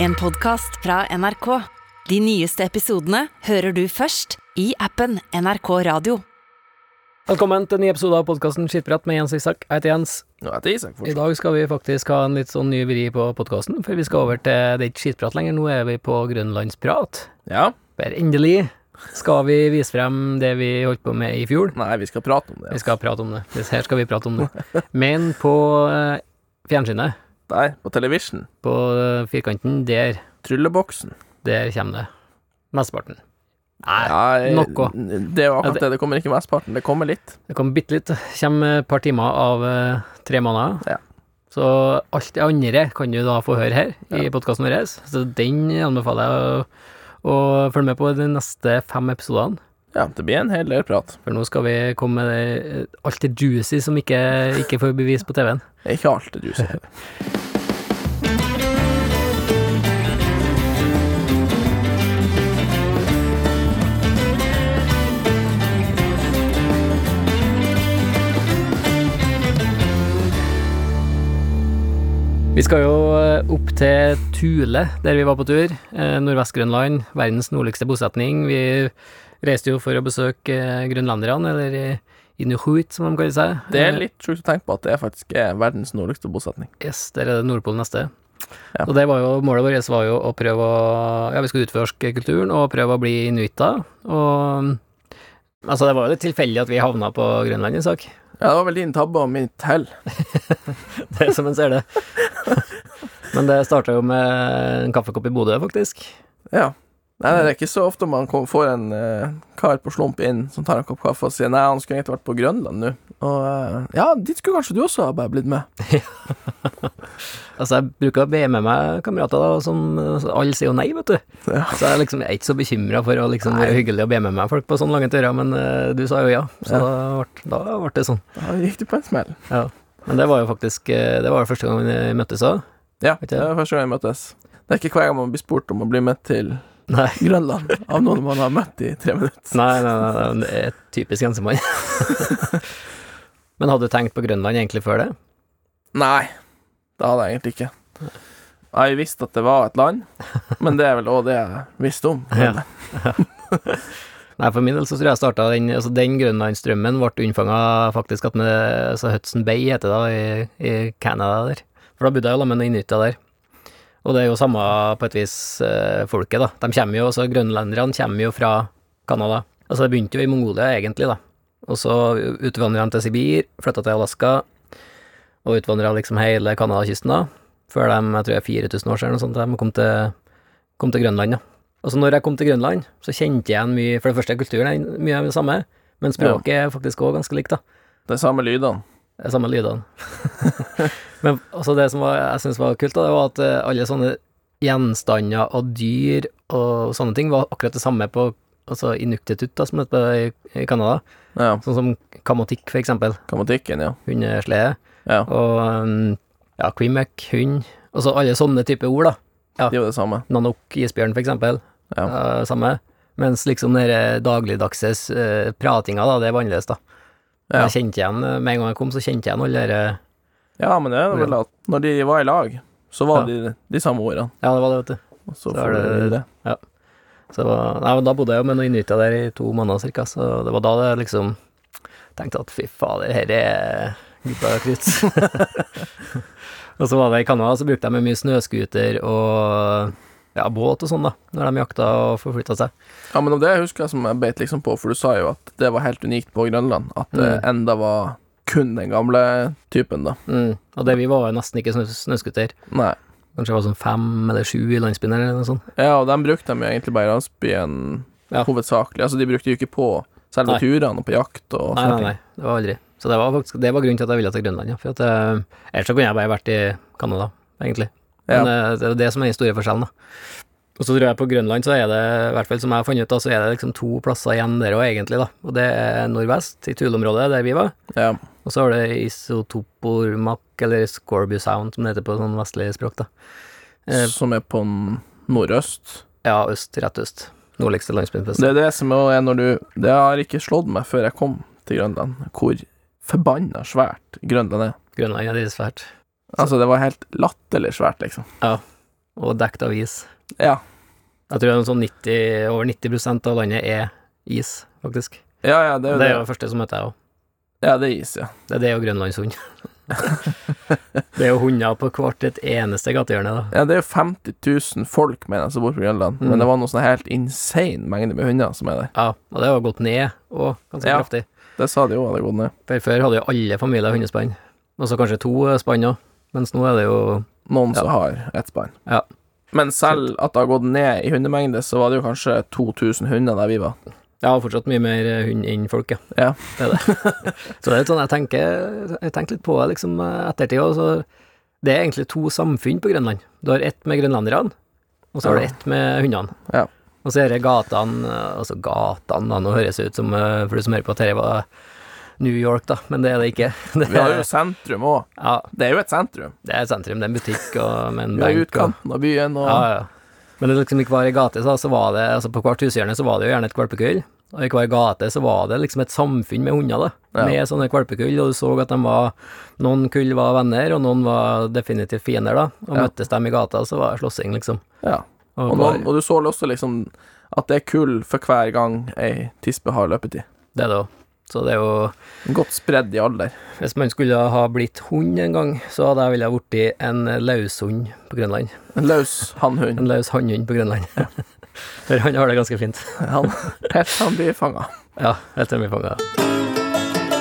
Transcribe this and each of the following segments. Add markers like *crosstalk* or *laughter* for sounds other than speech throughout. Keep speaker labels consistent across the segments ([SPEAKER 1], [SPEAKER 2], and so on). [SPEAKER 1] En podcast fra NRK. De nyeste episodene hører du først i appen NRK Radio.
[SPEAKER 2] Velkommen til en ny episode av podkasten Skittprat med Jens Isak. Jeg heter Jens.
[SPEAKER 3] Nå heter Isak
[SPEAKER 2] I
[SPEAKER 3] fortsatt.
[SPEAKER 2] dag skal vi faktisk ha en litt sånn ny vri på podkasten, for vi skal over til Det er ikke skittprat lenger, nå er vi på Grønlandsprat.
[SPEAKER 3] Ja.
[SPEAKER 2] Der endelig skal vi vise frem det vi holdt på med i fjor.
[SPEAKER 3] Nei, vi skal prate om det.
[SPEAKER 2] Vi skal prate om det. Det Her skal vi prate om det. Men på eh, fjernsynet,
[SPEAKER 3] Nei, på television.
[SPEAKER 2] på eh, firkanten, der,
[SPEAKER 3] Trylleboksen.
[SPEAKER 2] der kommer det. Mesteparten. Nei,
[SPEAKER 3] Nei,
[SPEAKER 2] noe.
[SPEAKER 3] n- Det er jo
[SPEAKER 2] Ja,
[SPEAKER 3] akkurat
[SPEAKER 2] det-
[SPEAKER 3] det. Det kommer ikke mesteparten. Det kommer litt.
[SPEAKER 2] Det kommer bitte litt. Kommer et par timer av eh, tre måneder.
[SPEAKER 3] Ja.
[SPEAKER 2] Så alt det andre kan du da få høre her i
[SPEAKER 3] Ja.
[SPEAKER 2] podkasten vår. Så den anbefaler jeg å, å følge med på de neste fem episodene.
[SPEAKER 3] Ja, det blir en hel del prat.
[SPEAKER 2] For nå skal vi komme med det, alt det juicy som ikke, ikke får bevis på TV-en.
[SPEAKER 3] Ikke alt det du sier.
[SPEAKER 2] Vi skal jo eh, opp til Thule, der vi var på tur. Eh, Nordvest-Grønland, verdens nordligste bosetning. Vi reiste jo for å besøke eh, grønlenderne, eller eh, inuit, som de kaller seg.
[SPEAKER 3] Det
[SPEAKER 2] Eh,
[SPEAKER 3] er litt sjukt å tenke på at det faktisk er verdens nordligste bosetning.
[SPEAKER 2] Yes, der er det Nordpolen neste.
[SPEAKER 3] Ja.
[SPEAKER 2] Og det var jo, målet vårt var jo å prøve å Ja, vi skulle utforske kulturen og prøve å bli inuitter. Og Altså, det var jo litt tilfeldig at vi havna på Grønland i sak. *laughs*
[SPEAKER 3] Ja, det var vel din tabbe og mitt hell.
[SPEAKER 2] Det er som en ser det. *laughs* Men det starta jo med en kaffekopp i Bodø, faktisk.
[SPEAKER 3] Ja. Nei, nei, det er ikke så ofte man kom, får en eh, kar på slump inn som tar en kopp kaffe og sier nei, han skulle egentlig vært på Grønland nå. Og eh, ja, dit skulle kanskje du også ha bare blitt med.
[SPEAKER 2] Altså, jeg bruker å be med meg kamerater, da, som så alle sier jo nei, vet du.
[SPEAKER 3] Ja.
[SPEAKER 2] Så jeg liksom er ikke så bekymra for å liksom være hyggelig og be med meg folk på sånne lange turer, men eh, du sa jo ja, så da ble- da ble det sånn.
[SPEAKER 3] Da gikk du på en smell.
[SPEAKER 2] Ja, men det var jo faktisk eh, Det var jo første gang vi møttes òg.
[SPEAKER 3] Ja,
[SPEAKER 2] Vet du?
[SPEAKER 3] det er første gang vi møttes. Det er ikke hver gang man blir spurt om å bli med til
[SPEAKER 2] Nei.
[SPEAKER 3] Grønland av noen man har møtt i tre minutter.
[SPEAKER 2] Nei, nei, nei, nei, det er et typisk grensemann. men hadde du tenkt på Grønland egentlig før det?
[SPEAKER 3] Nei, det hadde jeg egentlig ikke. Jeg visste at det var et land, men det er vel òg det jeg visste om.
[SPEAKER 2] *laughs* Ja. Nei, for min del så tror jeg jeg starta den altså Den Grønlandsdrømmen ble unnfanga faktisk at med altså Hudson Bay heter det da, i, i Canada der. For da bodde jeg jo sammen med inuitter der. Og det er jo samme på et vis eh, folket, da. De kommer jo, altså Grønlenderne kommer jo fra Canada. Altså det begynte jo i Mongolia egentlig, da. Og så utvandra de til Sibir, flytta til Alaska, og utvandra liksom hele Canada-kysten da. Før de, jeg tror det er 4000 år siden, eller noe sånt, de kom til, kom til Grønland, da. Og så når jeg kom til Grønland, så kjente jeg igjen mye For det første, kulturen er mye av det samme, men språket er faktisk òg ganske likt, da.
[SPEAKER 3] Det er samme lydene.
[SPEAKER 2] Det er samme lydene. *laughs* men altså, det som var, jeg syntes var kult, da, det var at eh, alle sånne gjenstander og dyr og sånne ting var akkurat det samme på altså Inuktitut, da, som heter det i- i Canada.
[SPEAKER 3] Ja,
[SPEAKER 2] Sånn som kamotikk, for eksempel.
[SPEAKER 3] Grammatikken, ja.
[SPEAKER 2] Hundeslede.
[SPEAKER 3] Ja.
[SPEAKER 2] Og um, ja, kvimøkk, hund. Og så alle sånne typer ord, da.
[SPEAKER 3] Det er jo det samme.
[SPEAKER 2] Nanok isbjørn, for eksempel.
[SPEAKER 3] Ja.
[SPEAKER 2] Eh, samme. Mens liksom den der dagligdagse eh, pratinga, da, det er annerledes, da.
[SPEAKER 3] Ja.
[SPEAKER 2] Jeg kjente igjen, eh, Med en gang jeg kom, så kjente jeg igjen alle de eh,
[SPEAKER 3] ja, men det er vel at når de var i lag, så var de de samme ordene.
[SPEAKER 2] Ja, det var det, vet du.
[SPEAKER 3] Og så,
[SPEAKER 2] Så er
[SPEAKER 3] får du
[SPEAKER 2] det-
[SPEAKER 3] det.
[SPEAKER 2] Så det var, nei, men da bodde jeg jo med noen inuitter der i to måneder cirka, så det var da det liksom tenkte at fy fader, her er gutta krutt. *laughs* og så var det i Canada, så brukte de mye snøskuter og ja, båt og sånn, da, når de jakta og forflytta seg.
[SPEAKER 3] Ja, men om det husker jeg som jeg beit liksom på, for du sa jo at det var helt unikt på Grønland. At det
[SPEAKER 2] Mm.
[SPEAKER 3] enda var kun den gamle typen, da.
[SPEAKER 2] Mm. Og det vi var jo nesten ikke snø- snøskuter.
[SPEAKER 3] Nei.
[SPEAKER 2] Kanskje det var sånn fem eller sju i landsbyen eller noe sånt.
[SPEAKER 3] Ja, og dem brukte de jo egentlig bare i landsbyen
[SPEAKER 2] Ja.
[SPEAKER 3] hovedsakelig. Altså, de brukte jo ikke på selve
[SPEAKER 2] Nei.
[SPEAKER 3] turene og på jakt og
[SPEAKER 2] Nei, nei, nei, det var aldri. Så det var faktisk det var grunnen til at jeg ville til Grønland, ja. For at, eh, ellers så kunne jeg bare vært i Canada, egentlig. Men eh, det er jo det som er den store forskjellen, da. Og så tror jeg på Grønland så er det, i hvert fall som jeg har funnet ut, da, så er det liksom to plasser igjen der òg, egentlig, da. Og det er nordvest, i Tule-området, der vi var.
[SPEAKER 3] Ja.
[SPEAKER 2] Og så har du isotopormak, eller Scorbu Sound, som det heter på sånn vestlig språk, da. Eh,
[SPEAKER 3] Som er på n- nordøst.
[SPEAKER 2] Ja, øst, rett øst. Nordligste landsbyen. på øst.
[SPEAKER 3] Det er det som er når du Det har ikke slått meg før jeg kom til Grønland, hvor forbanna svært Grønland er.
[SPEAKER 2] Grønland er det svært.
[SPEAKER 3] Altså, det var helt latterlig svært, liksom.
[SPEAKER 2] Ja. og dekt av is.
[SPEAKER 3] Ja.
[SPEAKER 2] Jeg tror det er noe sånn 90, over 90 av landet er is, faktisk.
[SPEAKER 3] Ja, ja, det er
[SPEAKER 2] Det
[SPEAKER 3] jo det.
[SPEAKER 2] er jo det første som møter jeg òg.
[SPEAKER 3] Ja, det er is, ja.
[SPEAKER 2] Det er det og grønlandshund. *laughs* det er jo hunder på hvert et eneste gatehjørne, da.
[SPEAKER 3] Ja, det er jo 50 000 folk, mener jeg, som bor på Grønland.
[SPEAKER 2] Mm.
[SPEAKER 3] Men det var noe sånn helt insane mengde med hunder som er der.
[SPEAKER 2] Ja, og det har gått ned, og ganske
[SPEAKER 3] Ja.
[SPEAKER 2] kraftig.
[SPEAKER 3] Det sa de jo hadde gått ned.
[SPEAKER 2] For før hadde jo alle familier hundespann, og så kanskje to eh, spann òg, mens nå er det jo
[SPEAKER 3] Noen
[SPEAKER 2] Ja.
[SPEAKER 3] som har ett barn.
[SPEAKER 2] Ja.
[SPEAKER 3] Men selv at det har gått ned i hundemengde, så var det jo kanskje 2000 hunder der vi var.
[SPEAKER 2] Ja, fortsatt mye mer eh, hund enn folk, ja.
[SPEAKER 3] Ja.
[SPEAKER 2] Det er det. *laughs* så det er litt sånn, jeg tenker jeg tenkte litt på det liksom eh, ettertid òg, så det er egentlig to samfunn på Grønland. Du har ett med grønlanderne, og så har du
[SPEAKER 3] Ja.
[SPEAKER 2] ett med hundene.
[SPEAKER 3] Ja.
[SPEAKER 2] Og så er det gatene, eh, altså gatene, da, nå høres det ut som, eh, for du som hører på at dette var New York, da, men det er det ikke. *laughs* Det
[SPEAKER 3] Vi har jo
[SPEAKER 2] er,
[SPEAKER 3] sentrum òg.
[SPEAKER 2] ja,
[SPEAKER 3] Det er jo et sentrum.
[SPEAKER 2] det er et sentrum, det er en butikk og med en
[SPEAKER 3] Vi har jo
[SPEAKER 2] benk. og-
[SPEAKER 3] utkanten av byen og
[SPEAKER 2] Ja, ja. Men det er liksom i hver gate så, så var det, altså på hvert hushjørne så var det jo gjerne et valpekull, og i hver gate så var det liksom et samfunn med hunder da,
[SPEAKER 3] Ja.
[SPEAKER 2] med sånne valpekull, og du så at de var, noen kull var venner, og noen var definitivt fiender da, og
[SPEAKER 3] Ja.
[SPEAKER 2] møttes de i gata, så var det slåssing liksom.
[SPEAKER 3] Ja.
[SPEAKER 2] Og
[SPEAKER 3] Og,
[SPEAKER 2] bare-
[SPEAKER 3] noen, og du så også liksom at det er kull for hver gang ei tispe har løpetid.
[SPEAKER 2] Det er det også. Så det er jo,
[SPEAKER 3] Godt spredd i alder.
[SPEAKER 2] hvis man skulle ha blitt hund en gang, så hadde jeg ville ha vært en løshund på Grønland.
[SPEAKER 3] En løs hannhund.
[SPEAKER 2] En løs handhund på Grønland. *laughs* For han har det ganske fint.
[SPEAKER 3] Han, *laughs* helt til han blir fanga.
[SPEAKER 2] Ja, helt til vi fanger det.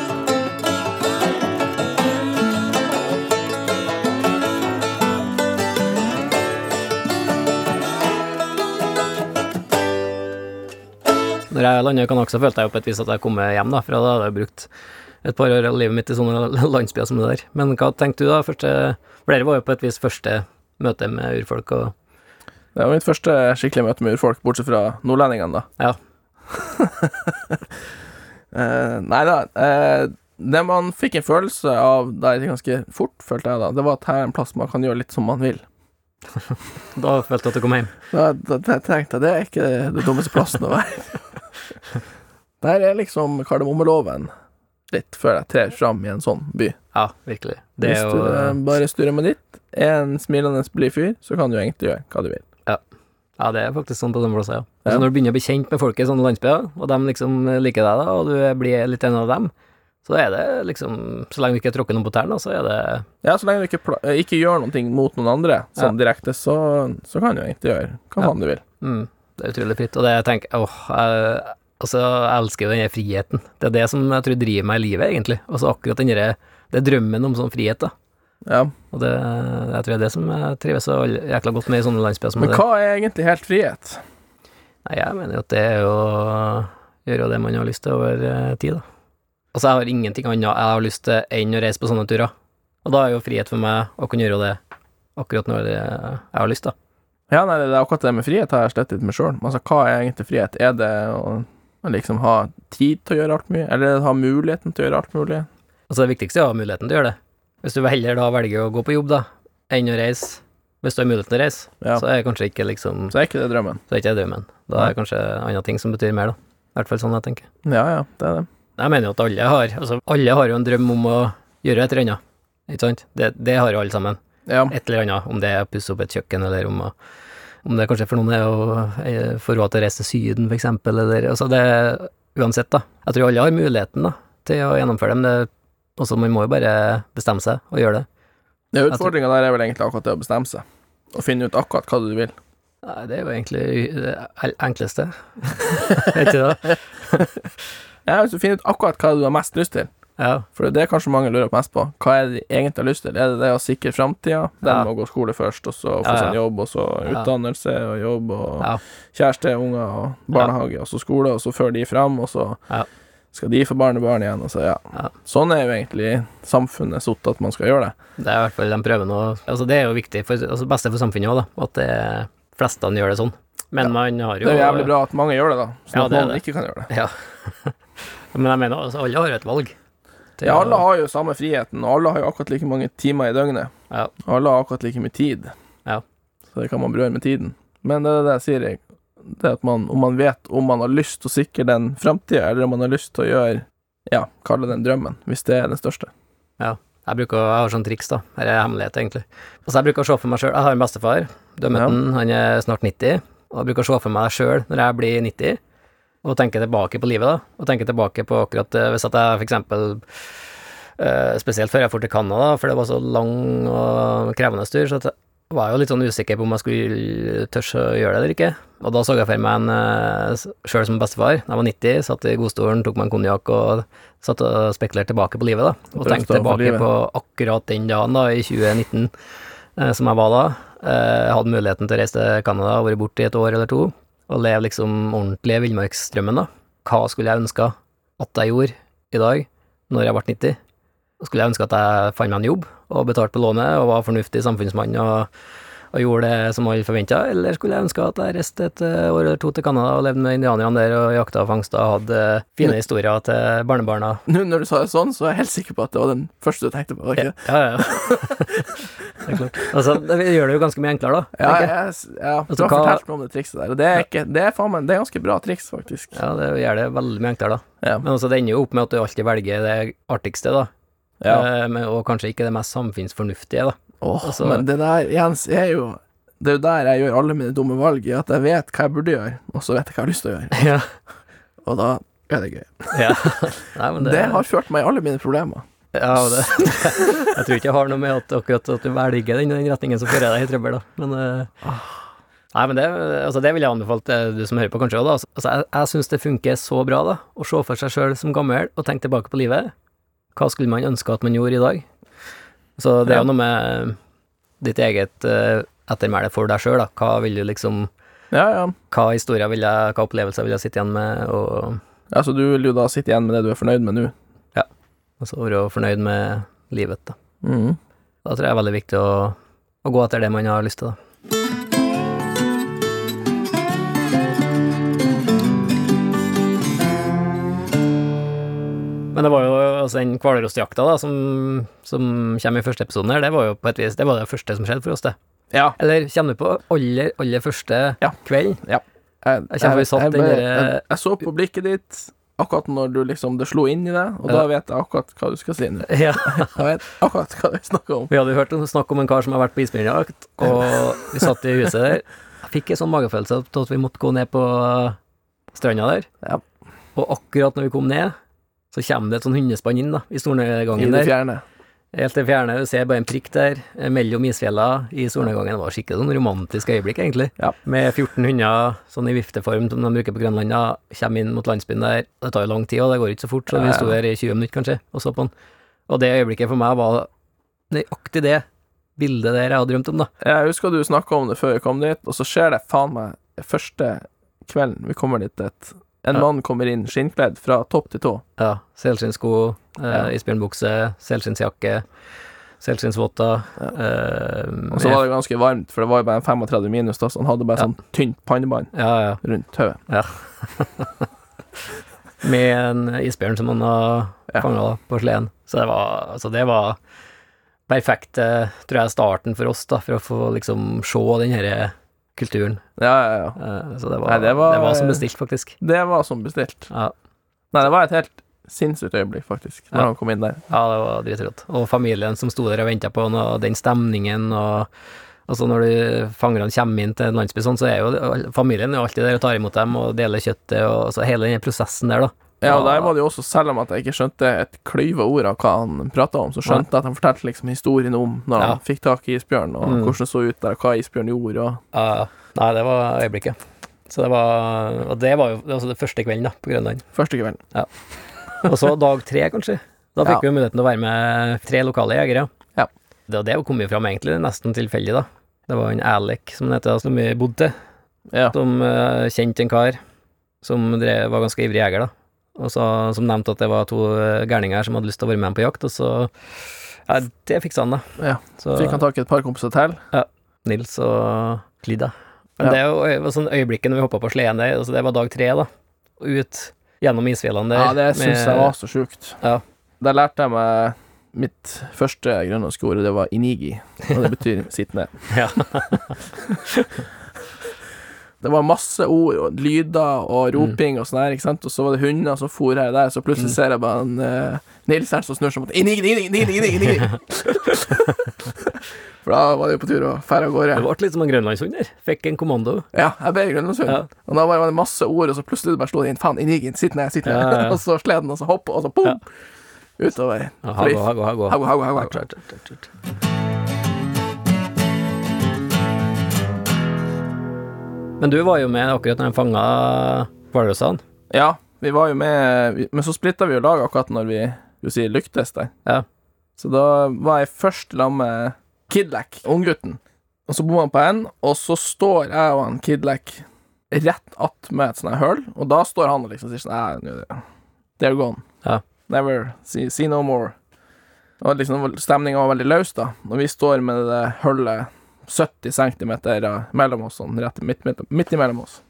[SPEAKER 2] Når jeg landet i Kanak, så følte jeg jo på et vis at jeg kom hjem, da, for da hadde jeg brukt et par år av livet mitt i sånne *laughs* landsbyer som det der. Men hva tenkte du da? Første, for dere var jo på et vis første møte med urfolk, og
[SPEAKER 3] Det var mitt første skikkelige møte med urfolk, bortsett fra nordlendingene, da.
[SPEAKER 2] Ja.
[SPEAKER 3] *laughs* eh, nei da. Eh, det man fikk en følelse av der ganske fort, følte jeg da, det var at her er en plass man kan gjøre litt som man vil.
[SPEAKER 2] da følte jeg at du kom hjem.
[SPEAKER 3] Da, da, da tenkte jeg det er ikke det dummeste plassen å være. *laughs* Der er liksom kardemommeloven litt før jeg trer fram i en sånn by.
[SPEAKER 2] Ja, virkelig. Det er
[SPEAKER 3] Hvis du eh,
[SPEAKER 2] jo
[SPEAKER 3] bare styrer med ditt, er en smilende blid fyr, så kan du egentlig gjøre hva du vil.
[SPEAKER 2] Ja, det er faktisk sånn på sånne plasser, ja.
[SPEAKER 3] Ja.
[SPEAKER 2] Altså, når du begynner å bli kjent med folk i sånne landsbyer, og de liksom liker deg, da, og du blir litt en av dem, så er det liksom Så lenge du ikke tråkker noen på tærne, da, så er det
[SPEAKER 3] Ja, så lenge du ikke, pla eh, ikke gjør noe mot noen andre sånn direkte, så, så kan du egentlig gjøre hva
[SPEAKER 2] Ja.
[SPEAKER 3] faen du vil.
[SPEAKER 2] mm, Det er utrolig fritt. Og det jeg tenker Åh, jeg, altså, jeg elsker jo denne friheten. Det er det som jeg tror driver meg i livet, egentlig. Og så akkurat den derre Det er drømmen om sånn frihet, da.
[SPEAKER 3] Ja.
[SPEAKER 2] Og det, jeg tror det er det som jeg trives så jækla godt med i sånne landsbyer som
[SPEAKER 3] Men
[SPEAKER 2] det.
[SPEAKER 3] hva er egentlig helt frihet?
[SPEAKER 2] Nei, jeg mener jo at det er jo gjøre det man har lyst til over eh, tid, da. Altså, jeg har ingenting annet jeg har lyst til enn å reise på sånne turer. Og da er jo frihet for meg å kunne gjøre det akkurat når eh, jeg har lyst, da.
[SPEAKER 3] Ja, nei, det er akkurat det med frihet har jeg slett litt med sjøl. Altså, hva er egentlig frihet? Er det å å liksom ha tid til å gjøre alt mulig, eller ha muligheten til å gjøre alt mulig?
[SPEAKER 2] Altså, det viktigste er å ha muligheten til å gjøre det. Hvis du heller da velger å gå på jobb, da, enn å reise, hvis du har muligheten til å reise,
[SPEAKER 3] Ja.
[SPEAKER 2] så er kanskje ikke liksom
[SPEAKER 3] Så er ikke det drømmen.
[SPEAKER 2] Så er ikke det drømmen. Da er det kanskje andre ting som betyr mer, da. I hvert fall sånn jeg tenker.
[SPEAKER 3] Ja, ja, det er det.
[SPEAKER 2] Jeg mener jo at alle har Altså, alle har jo en drøm om å gjøre et eller annet, ikke sant? Det, det har jo alle sammen.
[SPEAKER 3] Ja,
[SPEAKER 2] et eller annet, om det er å pusse opp et kjøkken, eller om, å- om det kanskje for noen er å eh, få råd til å reise til Syden, for eksempel, eller altså det Uansett, da. Jeg tror alle har muligheten da, til å gjennomføre det, men det, også, man må jo bare bestemme seg og gjøre det.
[SPEAKER 3] ja utfordringa der er vel egentlig akkurat det å bestemme seg. Å finne ut akkurat hva du
[SPEAKER 2] *laughs*
[SPEAKER 3] vil.
[SPEAKER 2] Nei, det er jo egentlig det en- enkleste. *laughs* er ikke det?
[SPEAKER 3] Ja, hvis du finner ut akkurat hva du har mest lyst til.
[SPEAKER 2] Ja.
[SPEAKER 3] For det er kanskje mange lurer mest på. Hva er det de egentlig har lyst til? Er det det å sikre framtida? Den
[SPEAKER 2] Ja.
[SPEAKER 3] må gå skole først, og så få
[SPEAKER 2] Ja, ja.
[SPEAKER 3] seg en jobb, og så
[SPEAKER 2] Ja.
[SPEAKER 3] utdannelse og jobb, og
[SPEAKER 2] Ja.
[SPEAKER 3] kjæreste, unger, og barnehage, og så skole, og så før de fram, og så
[SPEAKER 2] Ja.
[SPEAKER 3] skal de få barnebarn igjen, og så ja.
[SPEAKER 2] Ja.
[SPEAKER 3] Sånn er jo egentlig samfunnet satt at man skal gjøre det.
[SPEAKER 2] Det er i hvert fall de prøver nå. Altså, det er jo viktig, for, altså, beste for samfunnet òg, da, at det flestene gjør det sånn. Men man har jo
[SPEAKER 3] Det er jo jævlig bra at mange gjør det, da. Sånn
[SPEAKER 2] Ja,
[SPEAKER 3] at
[SPEAKER 2] det er
[SPEAKER 3] noen
[SPEAKER 2] det.
[SPEAKER 3] ikke kan gjøre det.
[SPEAKER 2] Ja. Men jeg mener, altså, alle har et valg. til
[SPEAKER 3] Ja,
[SPEAKER 2] å-
[SPEAKER 3] alle har jo samme friheten, og alle har jo akkurat like mange timer i døgnet.
[SPEAKER 2] Ja.
[SPEAKER 3] Og alle har akkurat like mye tid.
[SPEAKER 2] Ja.
[SPEAKER 3] Så det kan man brøde med tiden. Men det er det jeg sier, jeg. Det at man, om man vet om man har lyst til å sikre den framtida, eller om man har lyst til å gjøre Ja, kalle den drømmen, hvis det er den største.
[SPEAKER 2] Jeg bruker, jeg har sånn triks, da. Her er hemmelighet, egentlig. Altså, jeg bruker å se for meg sjøl Jeg har en bestefar. Du har møtt
[SPEAKER 3] Ja.
[SPEAKER 2] han, han er snart 90. Og jeg bruker å se for meg sjøl når jeg blir 90, og tenker tilbake på livet, da. Og tenker tilbake på akkurat eh, Hvis at jeg for eksempel eh, Spesielt før jeg dro til Canada, for det var så lang og krevende tur, så at jeg var jo litt sånn usikker på om jeg skulle tørs å gjøre det eller ikke. Og da så jeg for meg en sjøl som bestefar. Da jeg var 90, satt i godstolen, tok meg en konjakk og satt og spekulerte tilbake på livet, da. Og
[SPEAKER 3] Drømte
[SPEAKER 2] tenkte
[SPEAKER 3] om
[SPEAKER 2] tilbake
[SPEAKER 3] livet.
[SPEAKER 2] på akkurat den dagen, da, i 2019, eh, som jeg var da. Eh, Jeg hadde muligheten til å reise til Canada og være borte i et år eller to, og leve liksom ordentlig villmarksdrømmen, da. Hva skulle jeg ønska at jeg gjorde i dag, når jeg ble 90? Skulle jeg ønske at jeg fant meg en jobb og betalte på lånet og var fornuftig samfunnsmann og, og gjorde det som alle forventa, eller skulle jeg ønske at jeg reiste et eh, år eller to til Canada og levde med indianerne der og jakta og fangsta og hadde eh, fine historier til barnebarna
[SPEAKER 3] Nå når du sa det sånn, så er jeg helt sikker på at det var den første du tenkte på. var det
[SPEAKER 2] Ja,
[SPEAKER 3] Ikke?
[SPEAKER 2] ja, ja. *laughs* det er klart. Altså, det gjør det jo ganske mye enklere, da.
[SPEAKER 3] Ja,
[SPEAKER 2] tenker jeg.
[SPEAKER 3] jeg, ja, du
[SPEAKER 2] Altså,
[SPEAKER 3] har
[SPEAKER 2] hva-
[SPEAKER 3] fortalt meg om det trikset der, og det er, ikke, det er faen meg det er ganske bra triks, faktisk.
[SPEAKER 2] ja, det gjør det veldig mye enklere, da.
[SPEAKER 3] Ja.
[SPEAKER 2] Men altså, det ender jo opp med at du alltid velger det artigste, da.
[SPEAKER 3] Ja.
[SPEAKER 2] Eh, men, og kanskje ikke det mest samfunnsfornuftige, da. *laughs*
[SPEAKER 3] Åh,
[SPEAKER 2] Altså-
[SPEAKER 3] men det der, Jens, er jo Det er jo der jeg gjør alle mine dumme valg, i at jeg vet hva jeg burde gjøre, og så vet jeg hva jeg har lyst til å gjøre,
[SPEAKER 2] ja.
[SPEAKER 3] og da er det gøy.
[SPEAKER 2] ja. Nei, men
[SPEAKER 3] Det,
[SPEAKER 2] det,
[SPEAKER 3] har ført meg i alle mine problemer.
[SPEAKER 2] Ja, og det *laughs* Jeg tror ikke jeg har noe med at, akkurat at du velger den, den retningen som fører deg i trøbbel, da. Men eh, Nei, men det, altså, det vil jeg anbefale til du som hører på, kanskje òg, da. Altså, jeg, jeg syns det funker så bra, da, å se for seg sjøl som gammel og tenke tilbake på livet. Hva skulle man ønske at man gjorde i dag? Så det er jo noe med eh, ditt eget uh, ettermæle for deg sjøl, da. Hva vil du liksom
[SPEAKER 3] Ja, ja.
[SPEAKER 2] Hva historier vil jeg Hva opplevelser vil jeg sitte igjen med, og,
[SPEAKER 3] Altså, du vil jo da sitte igjen med det du er fornøyd med nå.
[SPEAKER 2] og så være fornøyd med livet, da.
[SPEAKER 3] Mhm.
[SPEAKER 2] Da tror jeg det er veldig viktig å, å gå etter det man har lyst til, da. Men det var jo altså den hvalrossjakta da, som, som kommer i første episoden her, det var jo på et vis det var det første som skjedde for oss, det.
[SPEAKER 3] Ja.
[SPEAKER 2] Eller kommer du på aller, aller første
[SPEAKER 3] Ja.
[SPEAKER 2] kvelden?
[SPEAKER 3] Jeg,
[SPEAKER 2] Jeg kjenner vi satt den
[SPEAKER 3] bare-
[SPEAKER 2] der-
[SPEAKER 3] jeg, jeg så på blikket ditt akkurat når du liksom det slo inn i deg, og da vet jeg akkurat hva du skal si nå.
[SPEAKER 2] Ja.
[SPEAKER 3] Jeg vet akkurat hva vi snakker om.
[SPEAKER 2] Vi hadde jo hørt om- snakk om en kar som har vært på isbjørnjakt, og vi satt i huset der. Jeg fikk en sånn magefølelse av at vi måtte gå ned på stranda der.
[SPEAKER 3] Ja.
[SPEAKER 2] Og akkurat når vi kom ned, så kommer det et sånn hundespann inn da, i
[SPEAKER 3] I
[SPEAKER 2] solnedgangen der.
[SPEAKER 3] det fjerne.
[SPEAKER 2] Helt til fjerne, du ser bare en prikk der, eh, mellom isfjella i solnedgangen. Det var skikkelig sånn romantisk øyeblikk, egentlig.
[SPEAKER 3] Ja.
[SPEAKER 2] Med 14 hunder, sånn i vifteform som de bruker på Grønland, da, kommer inn mot landsbyen der. Det tar jo lang tid, og det går ikke så fort, så
[SPEAKER 3] Ja, ja.
[SPEAKER 2] vi sto der i 20 minutter, kanskje, og så på den. Og det øyeblikket for meg var nøyaktig det bildet der jeg hadde drømt om, da.
[SPEAKER 3] Jeg husker du snakka om det før vi kom dit, og så skjer det faen meg første kvelden vi kommer dit, et en
[SPEAKER 2] Ja.
[SPEAKER 3] mann kommer inn skinnkledd fra topp til tå.
[SPEAKER 2] Ja, selskinnssko, eh,
[SPEAKER 3] Ja.
[SPEAKER 2] isbjørnbukse, selskinnsjakke, selskinnsvotter. eh,
[SPEAKER 3] Og så var det ganske varmt, for det var jo bare 35 minus, da, så han hadde bare
[SPEAKER 2] Ja.
[SPEAKER 3] sånn tynt pannebånd
[SPEAKER 2] Ja, ja.
[SPEAKER 3] rundt hodet.
[SPEAKER 2] Med en isbjørn som han har
[SPEAKER 3] Ja.
[SPEAKER 2] fanga på sleden. Så det var, altså det var perfekt, eh, tror jeg, starten for oss, da, for å få liksom se den herre kulturen.
[SPEAKER 3] Ja, ja, ja.
[SPEAKER 2] Eh, Så det var,
[SPEAKER 3] Nei,
[SPEAKER 2] det
[SPEAKER 3] det
[SPEAKER 2] var,
[SPEAKER 3] var- eh,
[SPEAKER 2] som bestilt, faktisk.
[SPEAKER 3] Det var som bestilt.
[SPEAKER 2] Ja,
[SPEAKER 3] Nei, det var et helt sinnssykt øyeblikk, faktisk, når
[SPEAKER 2] Ja.
[SPEAKER 3] han kom inn
[SPEAKER 2] ja
[SPEAKER 3] der.
[SPEAKER 2] det var dritrått. Og familien som sto der og venta på han, og den stemningen og Altså når du fangerne kommer inn til en landsby sånn, så er jo familien er jo alltid der og tar imot dem og deler kjøttet og så hele den prosessen der, da.
[SPEAKER 3] Ja, og
[SPEAKER 2] Ja.
[SPEAKER 3] der var det jo også, selv om at jeg ikke skjønte et klyve ord av hva han prata om, så skjønte jeg at han fortalte liksom historien om når
[SPEAKER 2] Ja.
[SPEAKER 3] han fikk tak i isbjørnen, og
[SPEAKER 2] Mm.
[SPEAKER 3] hvordan det så ut der, og hva isbjørnen gjorde, og
[SPEAKER 2] Ja, ja. nei, det var øyeblikket. Så det var, og det var jo det var altså det første kvelden da, på Grønland. *laughs*
[SPEAKER 3] første kvelden.
[SPEAKER 2] Og så dag tre, kanskje. Da fikk vi muligheten til å være med tre lokale jegere.
[SPEAKER 3] Ja.
[SPEAKER 2] Det, det kom jo fram egentlig nesten tilfeldig, da. Det var en Alec, som han heter, som vi bodde til,
[SPEAKER 3] Ja.
[SPEAKER 2] som eh, kjente en kar som drev, var ganske ivrig jeger, da. Og så, som nevnte at det var to eh, gærninger som hadde lyst til å være med ham på jakt, og så Ja, det fiksa han, da.
[SPEAKER 3] Ja.
[SPEAKER 2] Så,
[SPEAKER 3] Fikk han tak i et par kompiser til.
[SPEAKER 2] Nils og Klidda. Men
[SPEAKER 3] Ja.
[SPEAKER 2] det er jo øy- var sånn øyeblikket når vi hoppa på sleden der, altså det var dag tre, da. Og Ut gjennom isfjellene der.
[SPEAKER 3] Ja, det syns
[SPEAKER 2] med-
[SPEAKER 3] jeg var så sjukt.
[SPEAKER 2] Ja.
[SPEAKER 3] Der lærte jeg meg mitt første grønlandske ord,
[SPEAKER 2] *laughs*
[SPEAKER 3] det var inigi, og det betyr sitt ned.
[SPEAKER 2] Ja.
[SPEAKER 3] Det var masse ord og lyder og
[SPEAKER 2] Mm.
[SPEAKER 3] roping og sånn her, ikke sant. Og så var det hunder som for her og der, så plutselig ser jeg bare en eh, Nils her som snur seg mot Innig, innig, innig, innig, innig,
[SPEAKER 2] *laughs*
[SPEAKER 3] For da var det jo på tur å fære av gårde.
[SPEAKER 2] Det ble litt som en grønlandshund der. Fikk en kommando.
[SPEAKER 3] Ja, jeg ble grønlandshund.
[SPEAKER 2] Ja.
[SPEAKER 3] Og da var det masse ord, og så plutselig bare sto det inn Faen, Inigin, sitt ned, sitt ned.
[SPEAKER 2] Ja, ja.
[SPEAKER 3] *laughs* og så sled den, og så hopp, og så boom! Utover.
[SPEAKER 2] Ja,
[SPEAKER 3] Fordi-
[SPEAKER 2] Hago, hago, hago.
[SPEAKER 3] Hago, hago, hago, hago.
[SPEAKER 2] Tjort, tjort, tjort, tjort. Men du var jo med akkurat når de fanga hvalrossene.
[SPEAKER 3] Ja, vi var jo med vi- Men så splitta vi jo lag akkurat når vi jo si, lyktes der.
[SPEAKER 2] Ja.
[SPEAKER 3] Så da var jeg først sammen med Kidlack, unggutten. Og så bor han på en, og så står jeg og han Kidlack rett attmed et sånt her høl, og da står han og liksom sier sånn "Nei, nå er det- They're gone.
[SPEAKER 2] Ja.
[SPEAKER 3] Never. See, see no more. Og liksom Stemninga var veldig løs, da. Og vi står med det hullet 70 cm mellom oss, sånn rett midt, midt, midt imellom oss.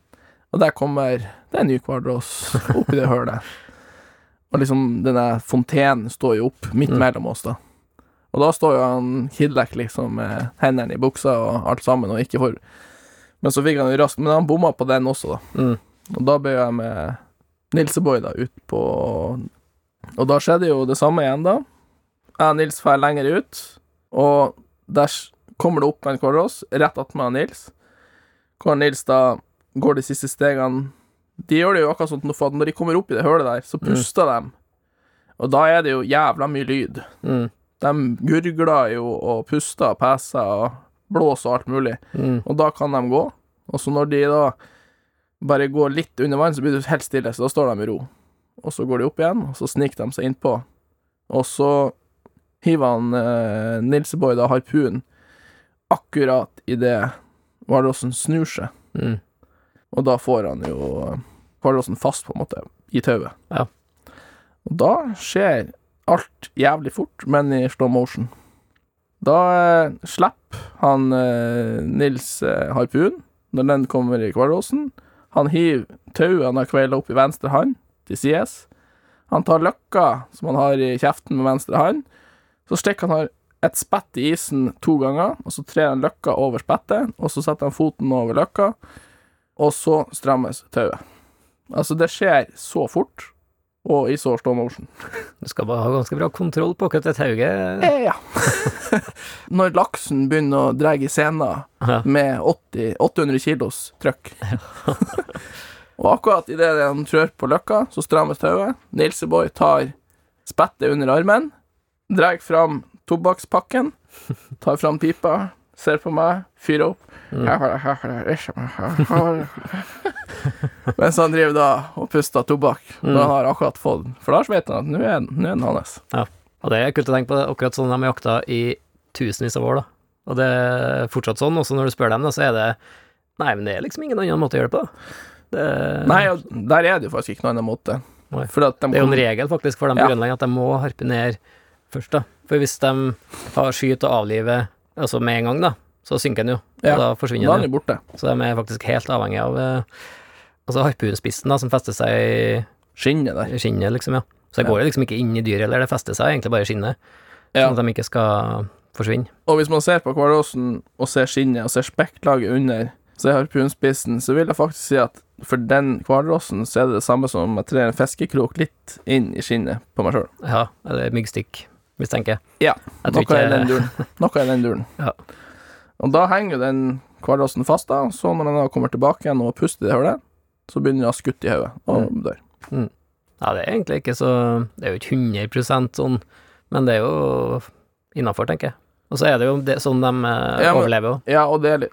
[SPEAKER 3] Og der kommer det er en ny kvadros
[SPEAKER 2] *laughs*
[SPEAKER 3] oppi det hølet. Og liksom denne fontenen står jo opp midt
[SPEAKER 2] Mm.
[SPEAKER 3] mellom oss, da. Og da står jo han Kidlack liksom med hendene i buksa og alt sammen, og ikke for Men så fikk han jo raskt Men han bomma på den også, da.
[SPEAKER 2] Mm.
[SPEAKER 3] Og da ble jeg med Nilseboy da ut på Og da skjedde jo det samme igjen, da. Jeg og Nils drar lenger ut, og der s- kommer det opp en kvadros rett attmed Nils, hvor Nils da går de siste stegene De gjør det jo akkurat sånn nå, for at når de kommer opp i det hølet der, så puster de. Og da er det jo jævla mye lyd.
[SPEAKER 2] Mm.
[SPEAKER 3] De gurgler jo og puster og peser og blåser og alt mulig.
[SPEAKER 2] Mm.
[SPEAKER 3] Og da kan de gå. Og så når de da bare går litt under vann, så blir det helt stille, så da står de i ro. Og så går de opp igjen, og så sniker de seg innpå. Og så hiver han eh, Nilseboy da harpunen akkurat idet hvalrossen snur seg.
[SPEAKER 2] Mm.
[SPEAKER 3] Og da får han jo hvalrossen fast, på en måte, i tauet.
[SPEAKER 2] Ja.
[SPEAKER 3] Og da skjer alt jævlig fort, men i slow motion. Da eh, slipper han eh, Nils eh, harpun når den kommer i hvalrossen. Han hiver tauet han har kveila opp i venstre hand, til sides. Han tar løkka som han har i kjeften med venstre hand. Så stikker han har et spett i isen to ganger, og så trer han løkka over spettet, og så setter han foten over løkka og så strammes tauet. Altså, det skjer så fort, og i så slow motion.
[SPEAKER 2] Du skal bare ha ganske bra kontroll på akkurat det tauet.
[SPEAKER 3] Eh, ja. *laughs* Når laksen begynner å dra i sena
[SPEAKER 2] Ja.
[SPEAKER 3] med 80, 800 kilos trøkk Og akkurat idet han trør på løkka, så strammes tauet. Nilseboy tar spettet under armen, drar fram tobakkspakken, tar fram pipa, ser på meg, fyrer opp. Mens han driver da og puster tobakk når han har akkurat fått den. For da vet han at nå er den, nå er den hans.
[SPEAKER 2] Og det er kult å tenke på, det er akkurat sånn de har jakta i tusenvis av år, da. Og det er fortsatt sånn, også når du spør dem, da, så er det Nei, men det er liksom ingen annen måte å gjøre det på. Det,
[SPEAKER 3] Nei, og der er det jo faktisk ikke noen annen måte.
[SPEAKER 2] Nei.
[SPEAKER 3] For at de
[SPEAKER 2] det er jo en
[SPEAKER 3] kommer-
[SPEAKER 2] regel faktisk for dem på
[SPEAKER 3] Ja.
[SPEAKER 2] Grønland at de må harpinere først, da. For hvis de har skyt og avliver altså med en gang, da, så synker den jo.
[SPEAKER 3] Ja.
[SPEAKER 2] Og da
[SPEAKER 3] Da
[SPEAKER 2] forsvinner den.
[SPEAKER 3] er den jo borte.
[SPEAKER 2] jo. Så de er faktisk helt avhengig av eh, altså harpunspissen, da, som fester seg i-
[SPEAKER 3] Skinnet der.
[SPEAKER 2] i skinnet, liksom, ja. Så det
[SPEAKER 3] Ja.
[SPEAKER 2] går jo liksom ikke inn i dyret, eller det fester seg egentlig bare i skinnet,
[SPEAKER 3] Ja.
[SPEAKER 2] sånn at de ikke skal forsvinne.
[SPEAKER 3] Og hvis man ser på hvalrossen og ser skinnet og ser spekklaget under, så er harpunspissen, så vil jeg faktisk si at for den hvalrossen så er det det samme som om jeg trer en fiskekrok litt inn i skinnet på meg sjøl.
[SPEAKER 2] Ja, eller myggstikk, mistenker jeg.
[SPEAKER 3] Ja,
[SPEAKER 2] Jeg tror
[SPEAKER 3] noe i den
[SPEAKER 2] ikke
[SPEAKER 3] duren. Noe i den duren.
[SPEAKER 2] *laughs* Ja.
[SPEAKER 3] Og da henger jo den hvalrossen fast, da. Så når den da kommer tilbake igjen og puster i det hullet, så begynner den å ha skutt i hodet og
[SPEAKER 2] Mm.
[SPEAKER 3] dør.
[SPEAKER 2] Ja, det er egentlig ikke så Det er jo ikke 100 sånn, men det er jo innafor, tenker jeg. Og så er det jo det, sånn de eh,
[SPEAKER 3] Ja, men-
[SPEAKER 2] overlever òg.
[SPEAKER 3] Ja, og det er litt,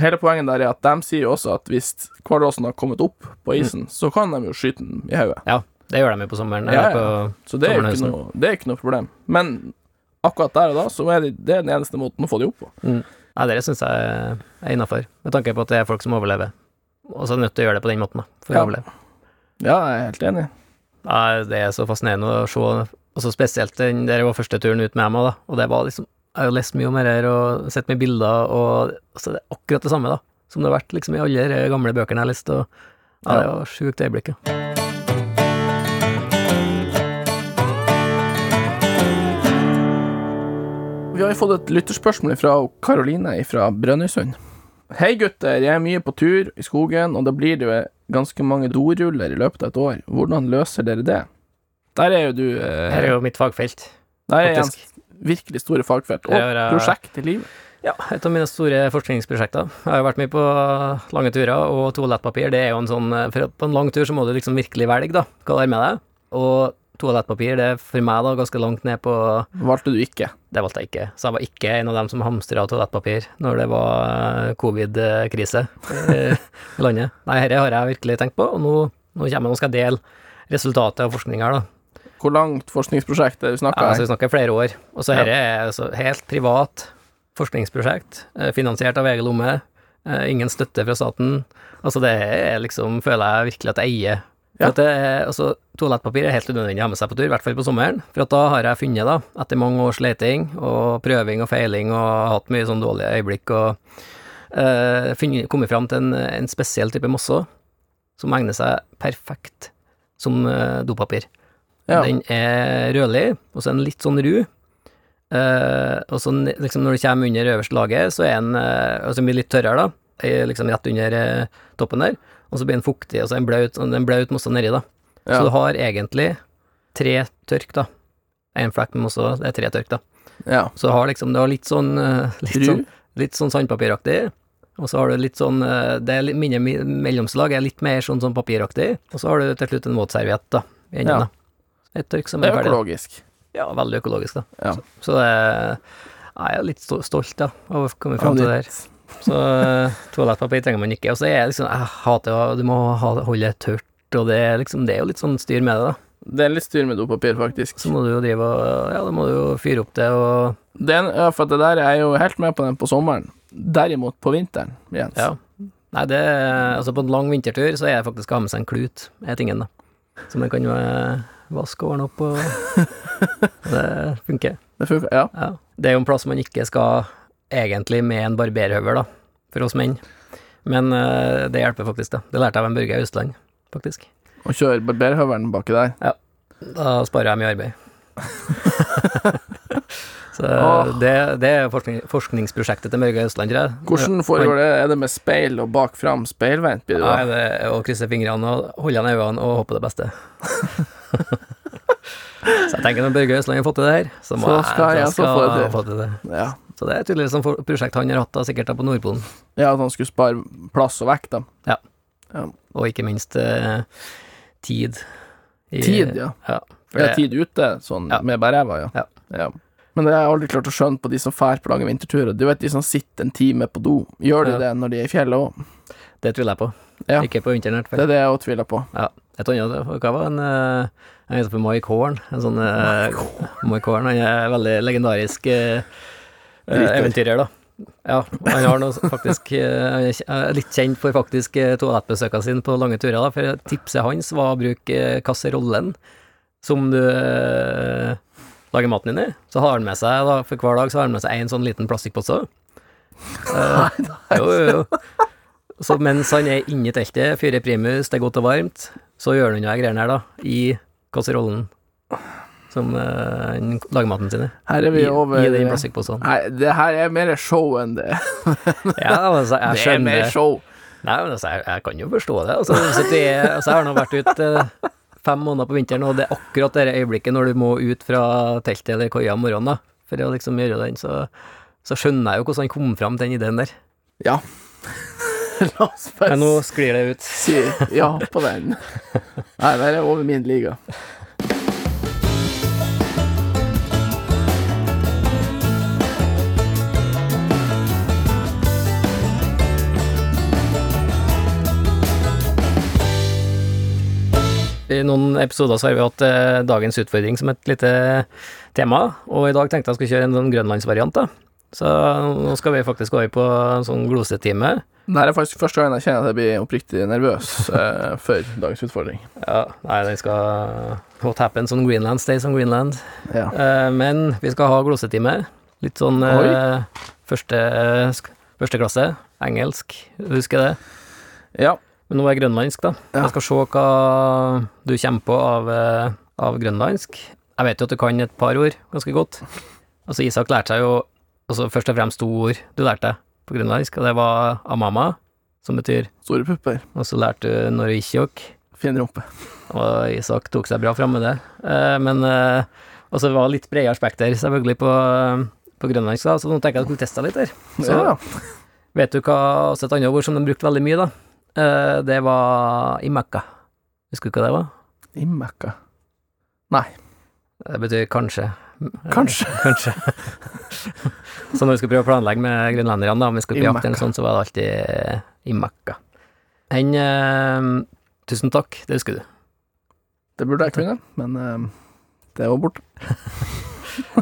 [SPEAKER 3] hele poenget der er at de sier jo også at hvis hvalrossen har kommet opp på isen, så kan de jo skyte den i hodet.
[SPEAKER 2] Ja, det gjør de jo på sommeren. eller
[SPEAKER 3] Ja, ja.
[SPEAKER 2] På,
[SPEAKER 3] Så det er jo ikke
[SPEAKER 2] Sommerhusen.
[SPEAKER 3] noe, det er ikke noe problem. Men akkurat der og da, så er det, det er den eneste måten å få de opp på.
[SPEAKER 2] Nei, det syns jeg er innafor, med tanke på at det er folk som overlever. Og så er de nødt til å gjøre det på den måten, da, for
[SPEAKER 3] Ja.
[SPEAKER 2] å overleve.
[SPEAKER 3] Ja, jeg er helt enig.
[SPEAKER 2] Nei, det er så fascinerende å se, og så spesielt den der var første turen ut med meg, da, og det var liksom Jeg har jo lest mye om dette her, og sett mye bilder, og altså, det er akkurat det samme, da, som det har vært liksom i alle de her gamle bøkene jeg har lest, og ja, det var sjukt øyeblikk, ja.
[SPEAKER 3] Vi har jo fått et lytterspørsmål fra Karoline fra Brønnøysund. Hei gutter, jeg er mye på tur i skogen, og da blir det jo ganske mange doruller i løpet av et år. Hvordan løser dere det? Der er jo du eh,
[SPEAKER 2] Her er jo mitt fagfelt.
[SPEAKER 3] Der er
[SPEAKER 2] faktisk.
[SPEAKER 3] Jens virkelig store fagfelt. Og
[SPEAKER 2] Her er, eh,
[SPEAKER 3] prosjekt i livet.
[SPEAKER 2] Ja, et av mine store forskningsprosjekter. Jeg har jo vært med på lange turer, og toalettpapir det er jo en sånn For på en lang tur så må du liksom virkelig velge, da, hva du har med deg. Og toalettpapir det er for meg da ganske langt ned på
[SPEAKER 3] Valgte du ikke.
[SPEAKER 2] Det valgte jeg ikke. Så jeg var ikke en av dem som hamstra toalettpapir når det var eh, covid-krise eh, i landet. Nei, dette har jeg virkelig tenkt på, og nå, nå kommer jeg nå skal jeg dele resultatet av forskning her, da.
[SPEAKER 3] Hvor langt forskningsprosjekt er det vi
[SPEAKER 2] Ja,
[SPEAKER 3] snakker
[SPEAKER 2] altså
[SPEAKER 3] her?
[SPEAKER 2] vi snakker flere år. Og så dette er altså helt privat forskningsprosjekt, eh, finansiert av egen lomme. eh, Ingen støtte fra staten. Altså det er liksom, føler jeg virkelig at jeg eier. For
[SPEAKER 3] Ja.
[SPEAKER 2] at det, er- altså, toalettpapir er helt unødvendig å ha med seg på tur, i hvert fall på sommeren. For at da har jeg funnet, da, etter mange års leting og prøving og feiling og hatt mye sånn dårlige øyeblikk, og eh, funnet, kommet fram til en, en spesiell type mosse som egner seg perfekt som eh, dopapir.
[SPEAKER 3] Ja.
[SPEAKER 2] Den er rødlig, og så er den litt sånn ru. Eh, og så n- liksom når du kommer under øverste laget, så er den eh, altså den blir litt tørrere, da. Eh, Liksom rett under eh, toppen der. Og så blir den fuktig, og så er den blaut, og den blaut mossa nedi, da.
[SPEAKER 3] Ja.
[SPEAKER 2] Så du har egentlig tre tørk, da. Én flekk med mossa, det er tre tørk, da.
[SPEAKER 3] Ja.
[SPEAKER 2] Så du har liksom, du har litt sånn eh, litt
[SPEAKER 3] Ru?
[SPEAKER 2] sånn, litt sånn sandpapiraktig, og så har du litt sånn eh, Det er litt mindre mi- mellomslag, er litt mer sånn, sånn papiraktig, og så har du til slutt en våtserviett, da, i enden,
[SPEAKER 3] Ja.
[SPEAKER 2] da. Et tørk som
[SPEAKER 3] Det
[SPEAKER 2] er
[SPEAKER 3] er
[SPEAKER 2] ferdig. da.
[SPEAKER 3] økologisk.
[SPEAKER 2] Ja, veldig økologisk, da.
[SPEAKER 3] Ja.
[SPEAKER 2] Så, så det jeg er litt sto- stolt ja, av å komme fram til det her. Så eh, *laughs* toalettpapir trenger man ikke. Og så er jeg liksom Jeg hater å Du må ha, holde det tørt, og det er liksom Det er jo litt sånn styr med det, da.
[SPEAKER 3] Det er litt styr med dopapir, faktisk.
[SPEAKER 2] Så må du jo drive og Ja, da må du jo fyre opp det, og
[SPEAKER 3] Det er en- ja, for at det der er jeg jo helt med på den på sommeren. Derimot på vinteren, Jens.
[SPEAKER 2] Ja. Nei, det Altså, på en lang vintertur så er det faktisk å ha med seg en klut, er tingen, da. Som man kan jo eh, vaske og ordne opp, og
[SPEAKER 3] *laughs*
[SPEAKER 2] Det funker.
[SPEAKER 3] Det funker. Ja.
[SPEAKER 2] Ja. Det er jo en plass man ikke skal egentlig med en barberhøvel, da, for oss menn. Men eh, det hjelper faktisk, da. Det lærte jeg av en Børge Austland, faktisk.
[SPEAKER 3] Og kjøre barberhøvelen baki der.
[SPEAKER 2] Da sparer jeg mye
[SPEAKER 3] *laughs*
[SPEAKER 2] arbeid. *laughs* Så
[SPEAKER 3] Åh.
[SPEAKER 2] det, det er forskning, forskningsprosjektet til Børge Austland, tror jeg.
[SPEAKER 3] Hvordan foregår det? Er det med speil og bak fram speilvendt? blir det da?
[SPEAKER 2] Nei, det er å krysse fingrene og holde igjen øynene og håpe det
[SPEAKER 3] *laughs*
[SPEAKER 2] beste. så jeg tenker når Børge Østland har fått til det her, så må
[SPEAKER 3] Så skal jeg også få det til.
[SPEAKER 2] få til det.
[SPEAKER 3] Ja.
[SPEAKER 2] Så det er tydeligvis et sånt prosjekt han har hatt da, sikkert da på Nordpolen.
[SPEAKER 3] ja, at han skulle spare plass og vekt, da.
[SPEAKER 2] Og ikke minst eh, tid. I,
[SPEAKER 3] Tid, ja.
[SPEAKER 2] ja, for
[SPEAKER 3] Ja,
[SPEAKER 2] det,
[SPEAKER 3] tid ute, sånn
[SPEAKER 2] Ja.
[SPEAKER 3] med bæreva, ja.
[SPEAKER 2] Ja.
[SPEAKER 3] Ja. Men det har jeg aldri klart å skjønne på de som fær på lange vinterturer. Du vet de som sitter en time på do. Gjør de
[SPEAKER 2] Ja.
[SPEAKER 3] det når de er i fjellet òg?
[SPEAKER 2] det tviler jeg på.
[SPEAKER 3] Ja.
[SPEAKER 2] Ikke på internett.
[SPEAKER 3] Det er det jeg òg tviler på.
[SPEAKER 2] Ja. Et annet, hva var en eh, En heter for Mike Horn. En sånn eh, Mike Horn. Han er en veldig legendarisk eh, eh,
[SPEAKER 3] Driter.
[SPEAKER 2] eventyrer, da. Ja, han har nå faktisk eh, Han er kj- eh, litt kjent for faktisk eh, toalettbesøkene sine på lange turer, da, for tipset hans var å bruke eh, kasserollen som du eh, lager maten din i. Så har han med seg, da, for hver dag så har han med seg en sånn liten plastikkpose. Eh, jo, jo, jo. Så mens han er inni teltet, fyrer primus, det er godt og varmt, så gjør han jo de greiene her, da, i kasserollen som eh, han lager maten sin i.
[SPEAKER 3] Her er vi
[SPEAKER 2] I,
[SPEAKER 3] over
[SPEAKER 2] i den plastikkposen.
[SPEAKER 3] *laughs* Nei, det her er mer show enn det.
[SPEAKER 2] Ja, altså, jeg
[SPEAKER 3] Det er
[SPEAKER 2] skjønner
[SPEAKER 3] mer
[SPEAKER 2] det.
[SPEAKER 3] show.
[SPEAKER 2] Nei, men altså, jeg, jeg kan jo forstå det. Altså, så det er, altså, jeg har nå vært ute eh, fem måneder på vinteren, og det er akkurat det øyeblikket når du må ut fra teltet eller koia om morgenen da, for å liksom gjøre den, så, så skjønner jeg jo hvordan han kom fram til den ideen der.
[SPEAKER 3] Ja. *laughs* La oss bare
[SPEAKER 2] Men nå sklir det ut.
[SPEAKER 3] si ja på den. Nei, det er over min liga.
[SPEAKER 2] I noen episoder så har vi hatt eh, dagens utfordring som et lite tema, og i dag tenkte jeg skulle kjøre en sånn grønlandsvariant, da. Så nå skal vi faktisk gå over på en sånn glosetime.
[SPEAKER 3] Det her er faktisk første gang jeg kjenner at jeg blir oppriktig nervøs eh, for dagens utfordring.
[SPEAKER 2] Ja, nei, den skal What happens on Greenland stays on Greenland.
[SPEAKER 3] Ja.
[SPEAKER 2] Eh, men vi skal ha glosetime. Litt sånn eh, første, eh, sk- første klasse. Engelsk, husker jeg det.
[SPEAKER 3] ja.
[SPEAKER 2] Men nå er jeg grønlandsk, da.
[SPEAKER 3] Ja.
[SPEAKER 2] Jeg skal se hva du kommer på av, eh, av grønlandsk. Jeg vet jo at du kan et par ord ganske godt. Altså, Isak lærte seg jo altså, først og fremst to ord du lærte deg. på grønlandsk, og det var amama, som betyr
[SPEAKER 3] Store pupper.
[SPEAKER 2] Og så lærte du norishjok,
[SPEAKER 3] Fin rumpe.
[SPEAKER 2] og Isak tok seg bra fram med det. Eh, Men eh, Og så var det litt bredere spekter, selvfølgelig, på, eh, på grønlandsk, da, så nå tenker jeg at jeg skulle teste litt her. Så-
[SPEAKER 3] Ja.
[SPEAKER 2] Vet du hva også et annet ord som de brukte veldig mye, da? Eh, Det var imekka. Husker du hva det var?
[SPEAKER 3] Imekka.
[SPEAKER 2] Det betyr kanskje.
[SPEAKER 3] Kanskje.
[SPEAKER 2] Kanskje. så når vi skulle prøve å planlegge med grønlenderne, da, om vi skulle på jakt eller noe sånt, så var det alltid imakka. Hen eh, Tusen takk, det husker du.
[SPEAKER 3] Det burde jeg kunne, men eh, det var borte.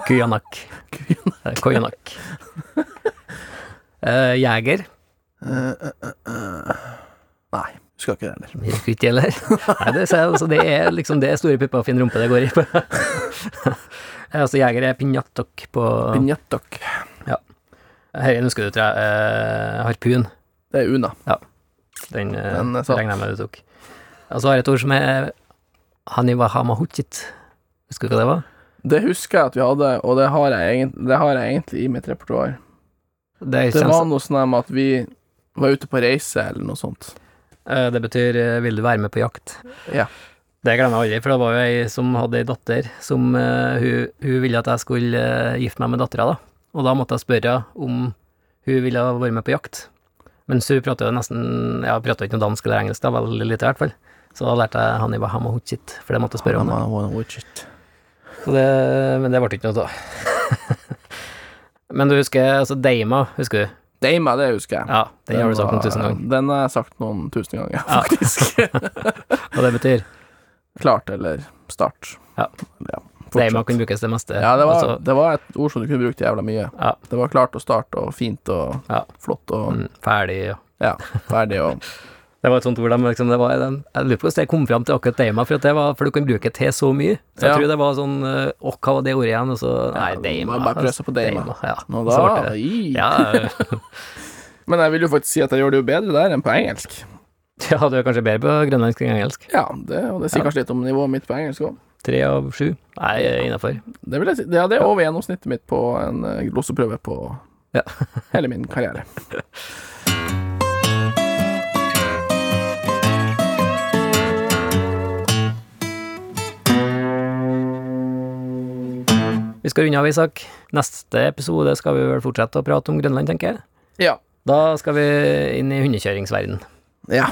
[SPEAKER 2] Kujanak. Eh, Kojanak. Eh, jeger.
[SPEAKER 3] Eh, eh, eh, eh. Nei, husker ikke det heller.
[SPEAKER 2] Gikk ikke heller. Nei, det, ser jeg, altså, det er liksom det er store pupper og fin rumpe det går i. *laughs* Eh, altså, jeger er pinjatok på
[SPEAKER 3] Pinjettok.
[SPEAKER 2] Herre, nå husker du, tror jeg. Eh, harpun.
[SPEAKER 3] Det er Una.
[SPEAKER 2] Den, eh,
[SPEAKER 3] Den er satt.
[SPEAKER 2] regner jeg med du tok. Og så har jeg et ord som er Haniwahamahuchit. Husker du hva det var?
[SPEAKER 3] Det husker jeg at vi hadde, og det har jeg, egent- det har jeg egentlig i mitt repertoar.
[SPEAKER 2] Det,
[SPEAKER 3] Det
[SPEAKER 2] kjennes-
[SPEAKER 3] var noe sånn her med at vi var ute på reise eller noe sånt.
[SPEAKER 2] Eh, det betyr eh, 'vil du være med på jakt'?
[SPEAKER 3] Ja.
[SPEAKER 2] Det glemmer jeg aldri, for det var jo ei som hadde ei datter som eh, hun, hun ville at jeg skulle eh, gifte meg med dattera, da. Og da måtte jeg spørre om hun ville være med på jakt. Mens hun prater jo nesten Ja, hun prater jo ikke noe dansk eller engelsk, da, veldig lite i hvert fall. Så da lærte jeg Haniwahamahuchit, for det måtte jeg spørre om. da. Så det, men det ble ikke noe av. *laughs* men du husker altså Deima, husker du?
[SPEAKER 3] Deima, det husker jeg.
[SPEAKER 2] Ja, den har du sagt noen
[SPEAKER 3] var-
[SPEAKER 2] tusen *laughs* ganger.
[SPEAKER 3] Den har jeg sagt noen tusen ganger,
[SPEAKER 2] Ja.
[SPEAKER 3] faktisk.
[SPEAKER 2] *laughs* Og det betyr
[SPEAKER 3] Klart eller start.
[SPEAKER 2] Ja.
[SPEAKER 3] fortsatt.
[SPEAKER 2] Deima kan brukes det meste.
[SPEAKER 3] Ja, det var,
[SPEAKER 2] Altså,
[SPEAKER 3] det var et ord som du kunne brukt jævla mye.
[SPEAKER 2] Ja.
[SPEAKER 3] Det var klart og start og fint og
[SPEAKER 2] Ja.
[SPEAKER 3] flott og
[SPEAKER 2] mm, ferdig, ja.
[SPEAKER 3] ja, ferdig og
[SPEAKER 2] *laughs* Det var et sånt ord de liksom det var, de, Jeg lurer på hvordan jeg kom fram til akkurat Deima, for, at det var, for du kan bruke til så mye. Så jeg
[SPEAKER 3] Ja.
[SPEAKER 2] tror det var sånn eh, Åh, hva var det ordet igjen? Og så Nei,
[SPEAKER 3] Ja,
[SPEAKER 2] Deima.
[SPEAKER 3] må bare prøse på Deima.
[SPEAKER 2] ja.
[SPEAKER 3] Nå
[SPEAKER 2] Så ble
[SPEAKER 3] da,
[SPEAKER 2] det-
[SPEAKER 3] i.
[SPEAKER 2] Ja,
[SPEAKER 3] Men jeg vil jo faktisk si at jeg gjør det jo bedre der enn på engelsk.
[SPEAKER 2] *laughs* ja, du er kanskje bedre på grønlandsk enn engelsk.
[SPEAKER 3] Ja, det, og det sier
[SPEAKER 2] Ja.
[SPEAKER 3] kanskje litt om nivået mitt på engelsk òg.
[SPEAKER 2] Tre av sju? Nei, innafor.
[SPEAKER 3] Det vil jeg si. Ja, det er over gjennomsnittet mitt på en eh, gloseprøve på
[SPEAKER 2] Ja.
[SPEAKER 3] *laughs* hele min karriere.
[SPEAKER 2] Vi skal runde av, Isak. Neste episode skal vi vel fortsette å prate om Grønland, tenker jeg.
[SPEAKER 3] Ja.
[SPEAKER 2] Da skal vi inn i hundekjøringsverden.
[SPEAKER 3] Ja.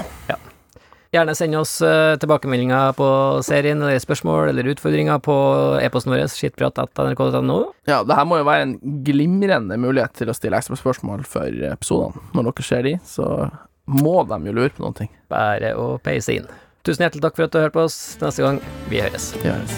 [SPEAKER 2] Gjerne send oss eh, tilbakemeldinger på serien eller spørsmål eller utfordringer på e-posten vår skittprat.nrk.no.
[SPEAKER 3] ja det her må jo være en glimrende mulighet til å stille ekstra spørsmål for eh, episodene. Når dere ser de, så må de jo lure på noen ting.
[SPEAKER 2] Bare å peise inn. Tusen hjertelig takk for at du hørte på oss. Til neste gang, vi høres.
[SPEAKER 3] Det gjøres.